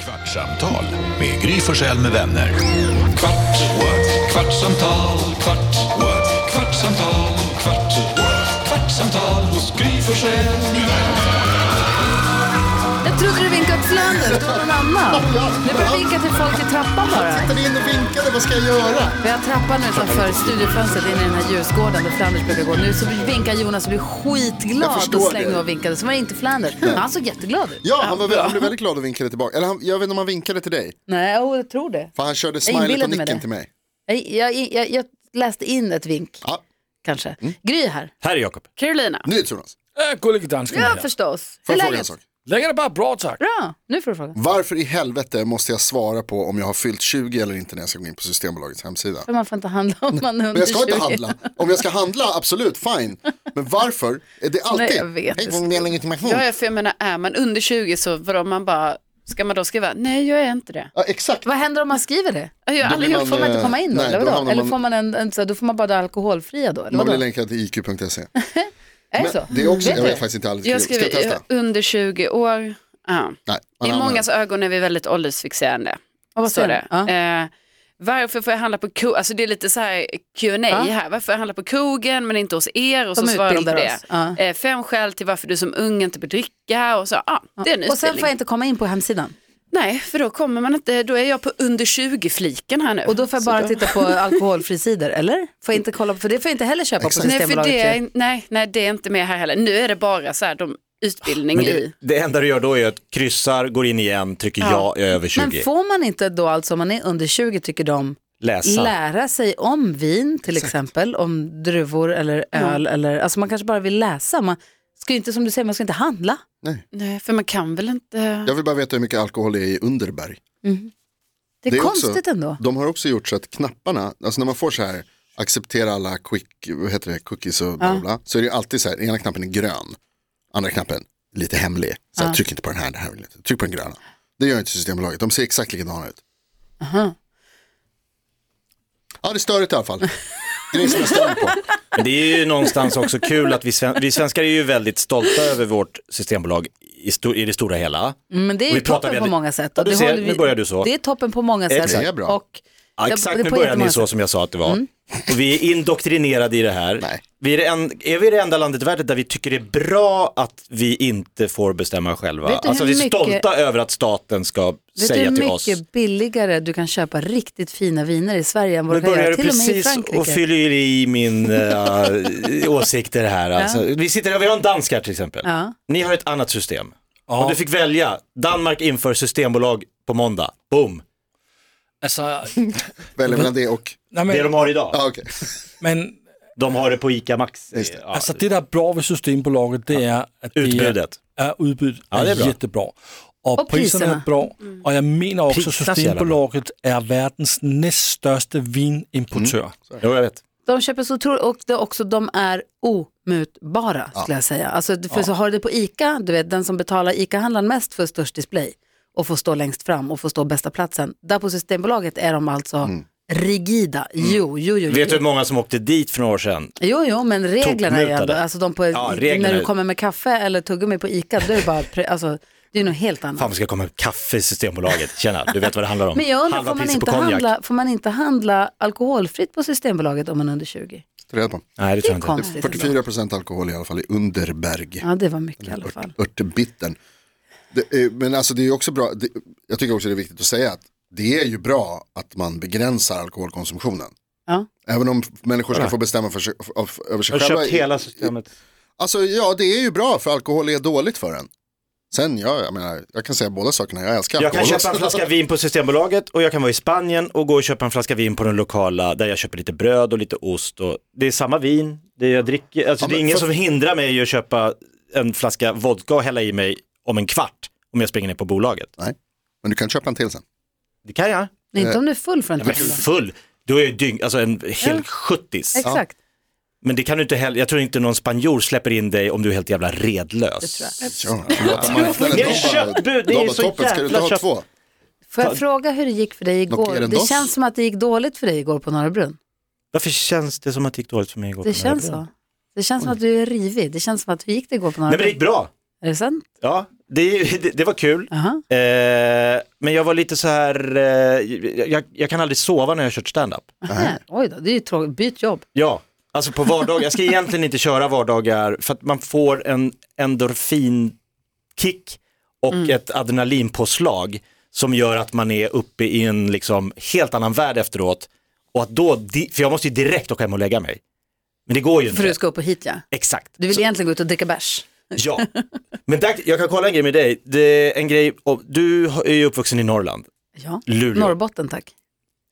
Kvartsamtal med Gry Forssell med vänner. Kvart, what? kvartsamtal, kvart, what? kvartsamtal, kvart, what? kvartsamtal hos Gry Forssell med vänner. Jag trodde du vinkade till Flandern, det var någon annan. Du börjar vinka till folk i trappan bara. tittade in och vinkade, vad ska jag göra? Vi har trappan utanför studiofönstret in i den här ljusgården där Flanders brukar gå. Nu så vinkar Jonas och blir Jag skitglad förstår och slängde det. mig och vinkade. Så var det inte Flanders. Han såg jätteglad ut. Ja, han, var, väl- han blev väldigt glad och vinkade tillbaka. Eller han, jag vet inte om han vinkade till dig, Nej, jo, jag tror det. för han körde smilet och inbillade mig nicken det. till mig. Jag, jag, jag, jag läste in ett vink, Ja, Mm. kanske. Gry här. Här är Jakob. Carolina. nu är det Jonas. Jag kollega Äh, dansken Ja, här. förstås. Får Hur jag är fråga en läget? sak? Läget är bara bra tack. Bra, nu får du fråga. Varför i helvete måste jag svara på om jag har fyllt 20 eller inte när jag ska gå in på Systembolagets hemsida? För man får inte handla om man är Men under jag ska inte 20. handla. Om jag ska handla, absolut, fine. Men varför? Är det alltid? Nej, jag vet Hej, inte. får ni en legitimation? Ja, ja, för jag menar, är man under 20 så vadå, man bara, ska man då skriva, nej jag är inte det. Ja, exakt. Vad händer om man skriver det? Jag har aldrig blir gjort Får man inte Eh, komma in då? nej, eller då vadå? hamnar eller man- får man, en, en, så här, då får man bara det alkoholfria då? Eller Man blir vadå? länkad till iq.se. Är det E. Men så? det är också, jag du? vet faktiskt inte aldrig Jag skrivit. Ska jag skriver testa? jag- under 20 år. Ja. Nej, man I använder- mångas ögon är vi väldigt åldersfixerande. Ja, vad Så är står det. det? Ja. Eh, varför får jag handla på krogen? Alltså det är lite så här Q&A här. Varför får jag handla på krogen men inte hos er? Och så De svarar de på utbildar det. oss. Ja. Eh, fem skäl till varför du som ung inte bör dricka. Och, så, ja, det är en Och sen utbildning. får jag inte komma in på hemsidan. Nej, för då kommer man inte, då är jag på under 20-fliken här nu. Och då får jag Så bara då- titta på alkoholfrisidor, eller? Får jag inte kolla på, för det får jag inte heller köpa på Nej, för Systembolaget. det ju. är, nej, nej, det är inte med här heller. Nu är det bara så här, de utbildning Det, i. det enda du gör då är att kryssar, går in igen, trycker ja, jag är över 20. Men får man inte då, alltså om man är under 20 tycker de, Läsa. lära sig om vin till exempel, om druvor eller öl eller, alltså man kanske bara vill läsa. Man ska ju inte, som du säger, man ska inte handla. Nej, för man kan väl inte. Jag vill bara veta hur mycket alkohol det är i Underberg. Det är, Det är också- konstigt ändå. De har också gjort så att knapparna, alltså när man får så här acceptera alla quick, vad heter det, cookies och bla bla, bla, så är det ju alltid så här, ena knappen är grön, andra knappen lite hemlig, så här, tryck inte på den här, det här vill jag inte, tryck på den gröna. Det gör inte Systembolaget, de ser exakt likadana ut. Ja, det är störigt i alla fall. Grejer som jag stör mig på. Men det är ju någonstans också kul att vi, sven- vi svenskar är ju väldigt stolta över vårt systembolag i, sto- i det stora hela. Men det är Vi ju pratar toppen väldigt- på många sätt. Ja, och du det ser, håller vi- nu börjar du så. Det är toppen på många sätt. Exakt. Det är bra. Och, Ja, det- exakt, det är nu på börjar ni jättemånga så sätt. som jag sa att det var. Och vi är indoktrinerade i det här. Nej. Vi är, det en, är vi det enda landet i världen där vi tycker det är bra att vi inte får bestämma själva? Vet du Alltså hur vi är mycket- stolta över att staten ska Vet du säga till hur oss. mycket billigare du kan köpa riktigt fina viner i Sverige än vad Nu du kan börjar göra du till och med i precis Frankrike? och fyller i min eh, åsikter här. Alltså. Vi, sitter, här- vi har en dansk här till exempel. Ja. Ni har ett annat system. Om du fick välja, Danmark inför systembolag på måndag, boom, Alltså, Välja mellan det och, nej, det de men, har idag. ja okej. men De har det på ICA Max. Just det. Ja. alltså det där är bra vid Systembolaget det är att det är, Utbudet. är utbud Ja, det är är bra. jättebra. Och, Och priserna priserna. är bra. Och jag menar också Priserna är så jävla bra. Systembolaget är världens näst största vinimportör. Jo, jag vet. De köper så otroligt, och det är också, de är omutbara skulle jag säga. Alltså, för så har du det på ICA, du vet den som betalar ICA-handlaren mest för störst display och får stå längst fram och får stå bästa platsen. Där på Systembolaget är de alltså Mm. rigida. Jo, jo, jo. Vet du jo. hur många som åkte dit för några år sedan? Jo, jo, men reglerna är ju ändå, Tokmutade. alltså de på, Ja, reglerna när är- du kommer med kaffe eller tuggummi på ICA, då är det bara, pre- alltså, det är något helt annat. Fan, vi ska komma med kaffe i Systembolaget. Tjena, du vet vad det handlar om. Men jag undrar, Halva får man, priset på inte konjak. handla, får man inte handla alkoholfritt på Systembolaget om man är under 20? Ta reda på. Nej, det Det tror är jag inte. konstigt. ändå. 44 procent alkohol i alla fall i Underberg. Ja, det var mycket i alla fall. ört, örtbittern. Det är, men alltså det är också bra, det, jag tycker också det är viktigt att säga att det är ju bra att man begränsar alkoholkonsumtionen. Ja. Även om människor ska få bestämma för sig, av- av- över sig Jag har själva. köpt hela systemet. Alltså ja, det är ju bra för alkohol är dåligt för en. Sen, ja, jag menar, jag kan säga båda sakerna, jag älskar Jag kan alkohol. köpa en flaska vin på Systembolaget och jag kan vara i Spanien och gå och köpa en flaska vin på den lokala där jag köper lite bröd och lite ost. Och det är samma vin, det jag dricker. Alltså, Ja, det är men ingen för- som hindrar mig att köpa en flaska vodka och hälla i mig om en kvart om jag springer ner på bolaget. Nej, men du kan köpa en till sen. Det kan jag. Nej, inte om du är full för en Ja, Men tusenlapp. full, då är jag dyng, alltså en hel Ja. sjuttis. Exakt. Men det kan du inte heller, jag tror inte någon spanjor släpper in dig om du är helt jävla Det redlös. tror jag. Ja, låta marknaden Det är toppa- köttbud, det är toppa så toppen. Ska du inte jävla ha kött- två? Får jag fråga hur det gick för dig Nog är igår? den Det dos. känns som att det gick dåligt för dig igår på Norra Brunn. Varför känns det som att det gick dåligt för mig igår? Det på den här känns brunn? så. Det känns som att du är rivig. Det känns som att hur gick det igår på Norra Nej men det gick Brunn? bra. Är det sant? Ja, det, det, det var kul. Aha. Eh, men jag var lite så här, eh, jag, jag kan aldrig sova när jag har kört standup. Aha. Oj då, det är ju tråkigt. Byt jobb. Ja, alltså på vardagar. Jag ska egentligen inte köra vardagar för att man får en endorfinkick och Mm. ett adrenalinpåslag som gör att man är uppe i en liksom helt annan värld efteråt. Och att då, di- för jag måste ju direkt åka hem och lägga mig. Men det går ju inte. För du ska upp och hit ja. Exakt. Du vill Så- egentligen gå ut och dricka bärs. Ja, men där, jag kan kolla en grej med dig. Det är en grej, om- du har- är ju uppvuxen i Norrland, Ja. Luleå. Norrbotten tack.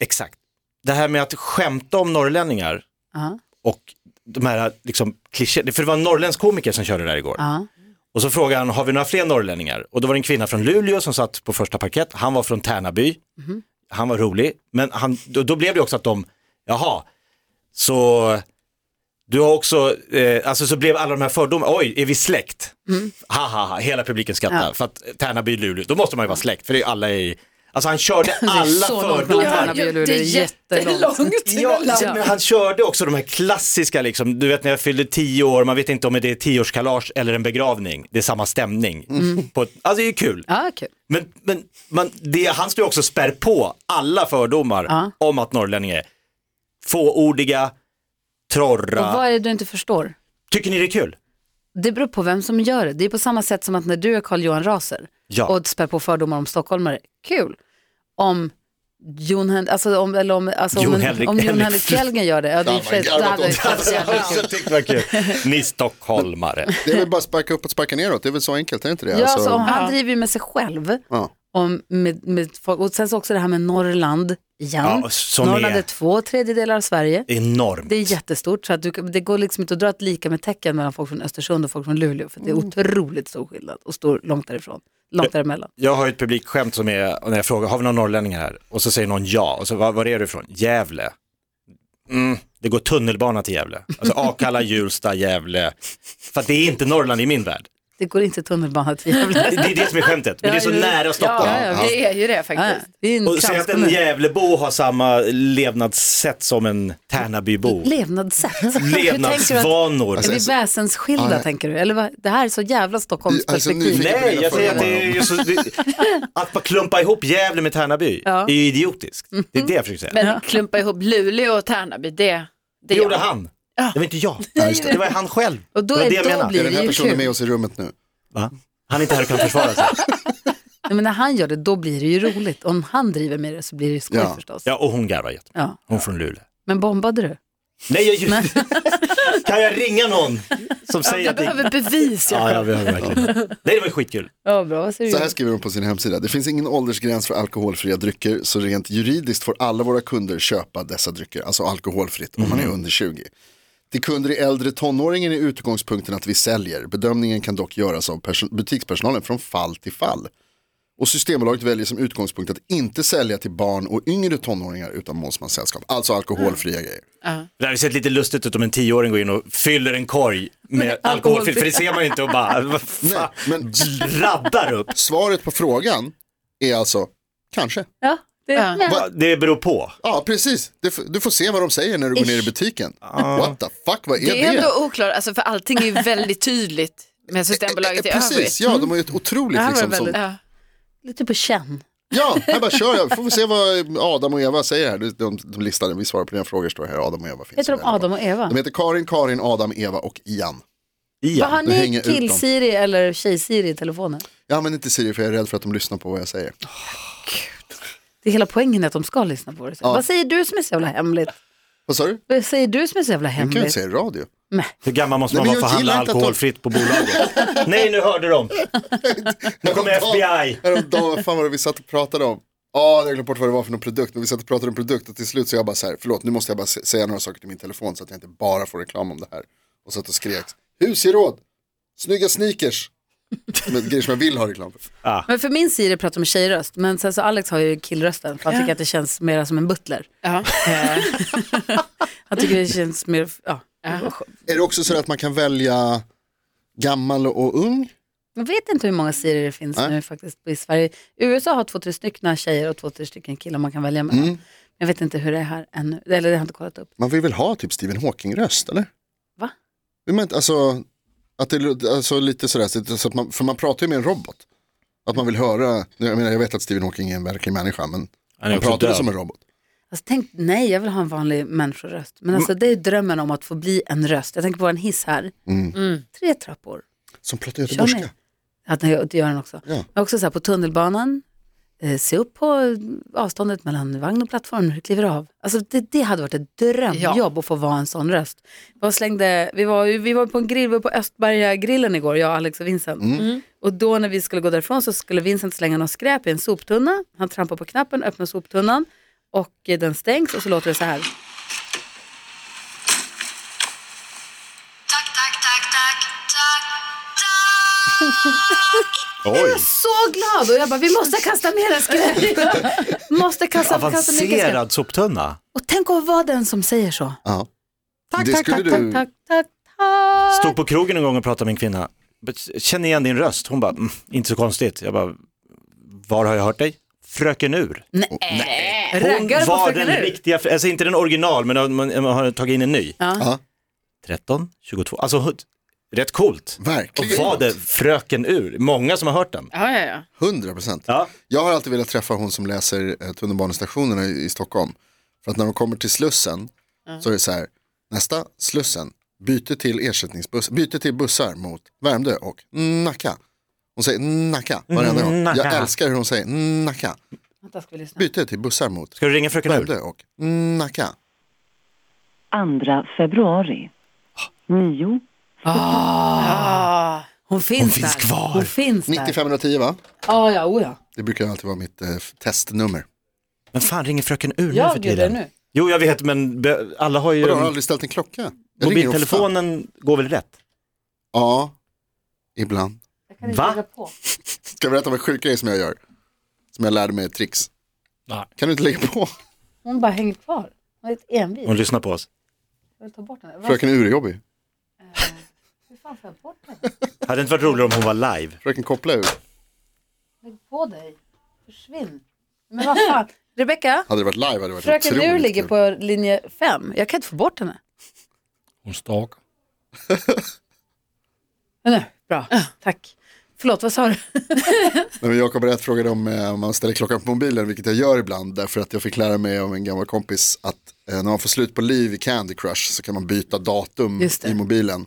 Exakt. Det här med att skämta om norrlänningar Ja. och de här liksom klichéerna, för det var en norrländsk komiker som körde det där igår. Ja. Och så frågade han, har vi några fler norrlänningar? Och då var det en kvinna från Luleå som satt på första parkett, han var från Tärnaby, Mhm. han var rolig, men han, då, då blev det också att de, jaha, så du har också, eh, alltså så blev alla de här fördomarna, oj, är vi släkt? Mm. Ha, ha, ha, hela publiken skrattade, för att Tärnaby, Luleå, då måste man ju vara släkt, för det är alla i, alltså han körde alla så långt mellan fördomar. Tärnaby och Luleå, det är Ja, Ja. men han körde också de här klassiska, liksom, du vet när jag fyllde tio år, man vet inte om det är tioårskalas eller en begravning, det är samma stämning. På ett, alltså det är ju kul, Ja, kul. men, men man, det, han står ju också och spär på alla fördomar Ja. om att norrlänningar är fåordiga, Och torra. vad är det du inte förstår? Tycker ni det är kul? Det beror på vem som gör det. Det är på samma sätt som att när du är Carl-Johan Raser Ja. och spär på fördomar om stockholmare, kul. Om Jon Hen- alltså om, eller om, alltså om, Jon en, Henrik- Oh om Jon Henrik- Henrik Fjällgren gör det, ja, det, är i och för sig- Ja, det men hade varit garvat åt så jävla kul. tyckte det var kul. Ni stockholmare. Det är väl bara sparka upp och sparka neråt, det är väl så enkelt, är det inte det? Ja, alltså, om Ja. han driver ju med sig själv. ja. Om, med, med folk. Och sen så också det här med Norrland igen. Ja, som Norrland är- är två tredjedelar av Sverige. Enormt. Det är jättestort, så att du, kan- det går liksom inte att dra ett lika med tecken mellan folk från Östersund och folk från Luleå, för det är otroligt stor skillnad och står långt därifrån, Eh. långt däremellan. Jag har ju ett publikskämt som är, när jag frågar, har vi någon norrlänning här? Och så säger någon ja, och så var, var är du ifrån? Gävle. Mm, det går tunnelbana till Gävle. Alltså Akalla, Hjulsta, Gävle. För att det är inte Norrland i min värld. Det går inte tunnelbana till Gävle. Det, det är det som är skämtet, men det är så nära Stockholm. Ja, ja, det är ju det Ja, faktiskt. det är en Och säg att en kranskommun. Gävlebo har samma levnadssätt som en Tärnabybo. Levnadssätt. Hur tänker Alltså, Levnadsvanor. du att, är vi väsensskilda Ja. tänker du? Eller vad? Det här är så jävla Stockholmsperspektiv. Alltså, nyfiken- Nej, jag säger att det är ju så, det, att bara klumpa ihop Gävle med Tärnaby Ja. är ju idiotiskt. Det är det jag försöker säga. Men klumpa ihop Luleå och Tärnaby, det, det Det gjorde jag. han. Det var inte jag. just det. det. var han själv. Och då det var är- det jag då menade. blir- Är den Det är här ju personen kul. med oss i rummet nu? Va? Han är inte här och kan försvara sig. Nej, men när han gör det, då blir det ju roligt. Om han driver med det så blir det ju skoj Ja. förstås. Ja, och hon garvar jättemycket. Ja. Hon från Luleå. Men bombade du? Nej, jag Kan jag ringa någon som säger Jag att det... behöver bevis. Ja, jag behöver verkligen. Nej, det var skitkul. Ja, bra. Vad säger Så här skriver de på sin hemsida. Det finns ingen åldersgräns för alkoholfria drycker så rent juridiskt får alla våra kunder köpa dessa drycker, alltså alkoholfritt, om man är under 20. Till kunder i äldre tonåringen är utgångspunkten att vi säljer. Bedömningen kan dock göras av perso- butikspersonalen från fall till fall. Och Systembolaget väljer som utgångspunkt att inte sälja till barn och yngre tonåringar utan målsmans sällskap. Alltså alkoholfria grejer. Det hade sett lite lustigt ut om en tioåring går in och fyller en korg med alkoholfritt, för det ser man ju inte och bara vad fan, Nej, men- raddar upp. Svaret på frågan är alltså kanske. Ja, det, Ja. ja. Det beror på. Ja, precis. Du, f- du får se vad de säger när du går ner i butiken. What the fuck, vad är det? Det är ändå oklart, alltså, för allting är ju väldigt tydligt med Systembolaget i Eh, eh, Precis, övrigt. Mm. ja, de har ju ett otroligt Det här var liksom. väldigt- Som, Ja. Lite på känn. ja, här bara kör jag. Får vi se vad Adam och Eva säger här. De, de, de listade, vi svarar på dina frågor står här. Adam och Eva finns. Heter de här. Adam och Eva? De heter Karin, Karin, Adam, Eva och Ian. Vad har Ian. du hänger ni ut dem. kill-Siri eller tjej-Siri i telefonen? Jag använder inte Siri för jag är rädd för att de lyssnar på vad jag säger. Det är hela poängen är att de ska lyssna på det. Vad säger du som är så jävla hemligt? Vad sa du? Vad säger du som är så jävla De kan ju inte hemligt? säga i radio. Hur gammal måste Nej, man men vara för jag att gillar handla inte att de- alkoholfritt på bolaget? Nej, nu hörde de. Nu kommer FBI. Häromdagen, vad fan var det vi satt och pratade om? Ja, jag har glömt bort vad det var för någon produkt, men vi satt och pratade om produkt och till slut så jag bara så här, förlåt, nu måste jag bara sä- säga några saker till min telefon så att jag inte bara får reklam om det här. Och satt och skrek, husgeråd, snygga sneakers, men grejer som jag vill ha reklam för. Men för min Siri pratar med tjejröst, men sen så Alex har ju killrösten, för han tycker att det känns mer som en butler. Ja. Han tycker det känns mer, ja. Är det också så att man kan välja gammal och ung? Jag vet inte hur många Siri det finns nu faktiskt i Sverige. USA har två, tre stycken tjejer och två, tre stycken killar man kan välja mellan. Jag vet inte hur det är här ännu, eller det har jag inte kollat upp. Man vill väl ha typ Stephen Hawking-röst, eller? Va? Vill man inte, alltså, Att det, lå- alltså lite sådär, så så att man, för man pratar ju med en robot. Att man vill höra, jag menar jag vet att Stephen Hawking är en verklig människa men är han också pratar ju död. som en robot. Alltså, tänk, nej, jag vill ha en vanlig människoröst. Men alltså, det är drömmen om att få bli en röst. Jag tänker på en hiss här. Mm. Tre trappor. Som pratar Kör göteborgska. ni? Att ni det gör den också. Ja. Men också så här på tunnelbanan, eh, se upp på avståndet mellan vagn och plattform när du kliver av. Alltså det, det hade varit ett drömjobb att få vara en sån röst. Jag slängde, vi, var, ju- vi var på en grill, vi var på Östberga grillen igår, jag, Alex och Vincent. Mm. Och då när vi skulle gå därifrån så skulle Vincent slänga något skräp i en soptunna. Han trampar på knappen, öppnar soptunnan och eh, den stängs och så låter det så här. Tack, tack, tack, tack, tack, tack. Oj, Så glad och jag bara, vi måste kasta mer skräp. måste kasta, kasta mycket skräp. Avancerad soptunna. Och tänk att vara den som säger så. ja. Tack, Det tack, skulle tack, du- tack, tack, tack, tack. Stod på krogen en gång och pratade med en kvinna. Känner igen din röst. Hon bara, mm, inte så konstigt. Jag bara, var har jag hört dig? Fröken Ur. Hon Raggar på var Fröken den Ur. riktiga, alltså inte den original, men man, man har tagit in en ny. Ja. 13, 22, alltså hud- rätt coolt. Och verkligen. var det Fröken Ur? Många som har hört den. Ja, ja, ja. 100 procent. Ja. Jag har alltid velat träffa hon som läser eh, tunnelbanestationerna i, i Stockholm. För att när de kommer till Slussen så är det så här, nästa Slussen, byte till ersättningsbuss, byte till bussar mot Värmdö och Nacka. Hon säger Nacka varenda gång. Nacka. Jag älskar hur hon säger Nacka. Mm, Vänta, ska vi lyssna? Byte till bussar mot Ska du ringa Fröken Ur? Värmdö och Nacka. 2 februari. 9. Hon finns Hon finns där. kvar. Hon finns där. 9510 va? Ja, ja, oh, ja. Det brukar alltid vara mitt eh, f- testnummer. Men fan ringer Fröken Ur nu Jag för gör det tiden? nu. Jo, jag vet, men be- alla har ju... Vadå, har du aldrig ställt en klocka? Jag ringer ofta. Mobiltelefonen går väl rätt? Ja, ibland. Va? Ska jag berätta om en sjuk grej som jag gör? Som jag lärde mig ett tricks. Nej. Kan du inte lägga på? Hon bara hänger kvar. Hon är ett envis. Hon lyssnar på oss. Jag vill ta bort henne. Vad Fröken Ur är jobbig. fan får jag bort henne? Hade det inte varit roligare om hon var live? Fröken Koppla Ur. Lägg på dig. Försvinn. Men vad fan. Rebecka, Hade det varit live hade det varit fröken otroligt Ur ligger kul. på linje 5. Jag kan inte få bort henne. Hon stalkar. Men nu, bra. Tack. Förlåt, vad sa du? Nej, men Jakob Rätt frågade om, eh, om man ställer klockan på mobilen, vilket jag gör ibland. Därför att jag fick lära mig av en gammal kompis att eh, när man får slut på liv i Candy Crush så kan man byta datum Just det. i mobilen.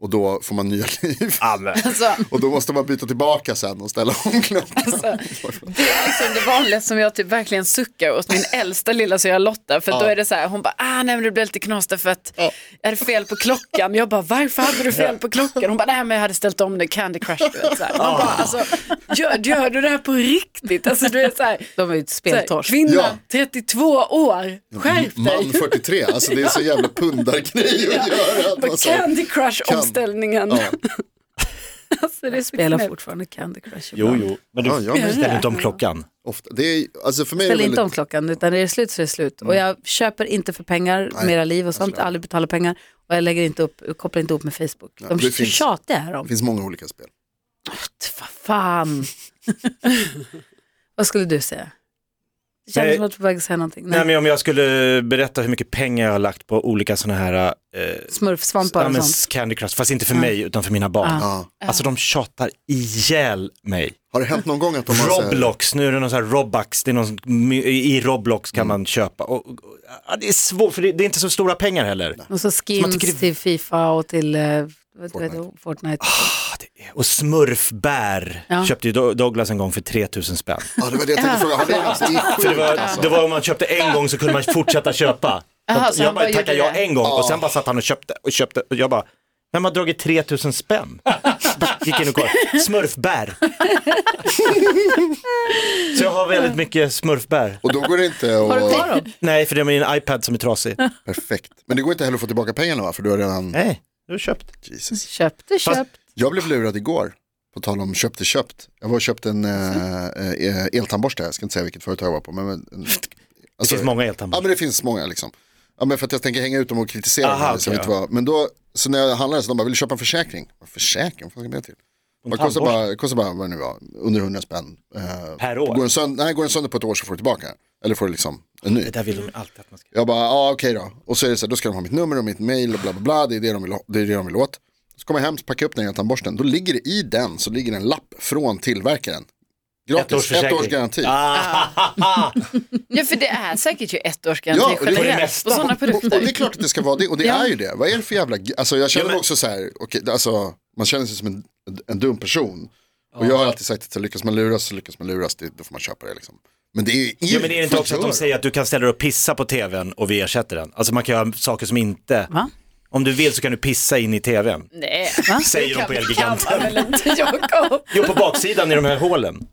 Och då får man nya liv. Ah. Alltså, Och då måste man byta tillbaka sen och ställa om klockan. Alltså, Det är liksom det vanliga som jag typ verkligen suckar åt min äldsta lilla syra Lotta. För då är det så här, hon bara, ah, nej men det blev lite knas därför att jag hade fel på klockan. Jag bara, varför hade du fel på klockan? Hon bara, nej men jag hade ställt om det, Candy Crush. Du vet, så här. Man bara, alltså, gör, gör du det här på riktigt? Alltså du är så här, De är ju ett så här speltorsk. kvinna, Ja. 32 år, skärp Man dig. 43, alltså det är så jävla pundargrej att göra. Att man så- Candy Crush-omställningen. Ja. Alltså, det är så Spelar knäppt. fortfarande Candy Crush. Jo, jo. Men du Ja, jag minns ställer inte om klockan. Ofta. Det är, alltså för mig är Ställ det inte om väldigt, klockan, utan när det är slut så är det slut. Mm. Och jag köper inte för pengar, mera liv och sånt, aldrig betalar pengar. Och jag lägger inte upp, kopplar inte ihop med Facebook. De det det finns- tjatiga är det de. finns många olika spel. Vad fan. Vad skulle du säga? Det känns Nej. som att du är på väg att säga någonting. Nej. Nej, men om jag skulle berätta hur mycket pengar jag har lagt på olika sådana här eh, Smurfsvampar ja, och men sånt. Candy Crush, fast inte för mig utan för mina barn. Ja. Alltså de tjatar ihjäl mig. Har det hänt någon gång att de har så här- Roblox, nu är det någon sån här Robux, det är någon, sån- my- i Roblox kan man köpa. Och, och, ja, det är svårt, för det, det är inte så stora pengar heller. Och så skins tycker det- till Fifa och till eh, vad heter det? Ah, Fortnite. Och smurfbär Ja. köpte ju Do- Douglas en gång för 3000 spänn. Ja, det var det jag tänkte fråga. Har det hänt? Det är För det sjukt var, det alltså. var om man köpte en gång så kunde man fortsätta köpa. Jaha, Att så jag han bara bara tackade gjorde jag det. en gång och sen bara satt han och köpte och köpte och jag bara, vem har dragit 3000 spänn? Gick in och kollade, smurfbär. så jag har väldigt mycket smurfbär. Och då går det inte Har du kvar att... dem? Nej, för det är min iPad som är trasig. Perfekt. Men det går inte heller att få tillbaka pengarna va? För du har redan... Nej, du har köpt. Jesus. Köpte, köpt. Jag blev lurad igår. På tal om köpte köpt. Jag var och köpte en eh, eh, eltandborste. Jag ska inte säga vilket företag jag var på. Men, men, Alltså- en, Det finns många eltandborstar. Ja men det finns många liksom. Ja men för att jag tänker hänga ut dem och kritisera Aha, dem. så jag okej, vet vad. Men då, så när jag handlade så de bara, vill du köpa en försäkring? Vad Försäkring? Vad fan ska jag med till? Vad kostar bara, kostar bara vad det nu var, under 100 spänn. Eh, Per år. Går den, sönder, nej, går den sönder på ett år så får du tillbaka. Eller får du liksom en ny. Det där vill de alltid att man ska Jag bara, ja ah, okej då. Och så är det så här, då ska de ha mitt nummer och mitt mail och bla bla bla. Det är det de vill, ha, det är det de vill åt. Så Så kommer jag hem, så packar jag upp den i tandborsten. Då ligger det i den så ligger det en lapp från tillverkaren. Gratis, ett års, försäkring. garanti. Ah, Ja, för det är säkert ju ett års garanti Ja, och det- och det generellt mesta. på sådana Och, och det är produkter. klart att det ska vara det, och det Ja. är ju det. Vad är det för jävla, g- alltså jag känner Ja, mig men- också så här, okej, alltså, man känner sig som en, en dum person. Och jag har alltid sagt att så lyckas man luras så lyckas man luras, det, då får man köpa det liksom. Men det är ju ja, men är det inte också att de förstör. säger att du kan ställa dig och pissa på tvn och vi ersätter den? Alltså man kan göra saker som inte, Va? om du vill så kan du pissa in i tvn. Nej, Säger de på Elgiganten. kan man väl inte Jakob? Jo, på baksidan i de här hålen.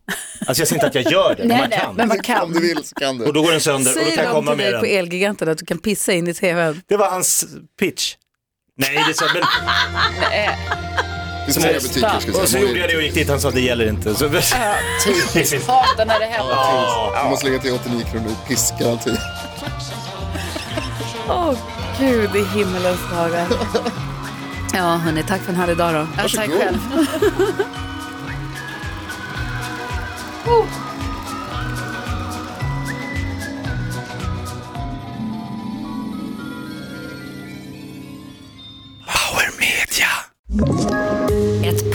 Alltså jag säger inte att jag gör det, men Nej, man nej, kan. men man kan. Om du vill så kan du. Och då går den sönder och då kan Säger jag de komma till med dig på den. Elgiganten att du kan pissa in i tvn? Det var hans pitch. Nej, det är så, men, Det finns många butiker skulle jag och så säga. gjorde jag det och gick dit, han sa det gäller inte. Så, Hatar när det händer. Man måste lägga till 89 kronor i pissgaranti. Åh gud i himmelens dagar. Ja hörni, tack för en härlig dag då. Ja, tack Varsågod. själv. Ett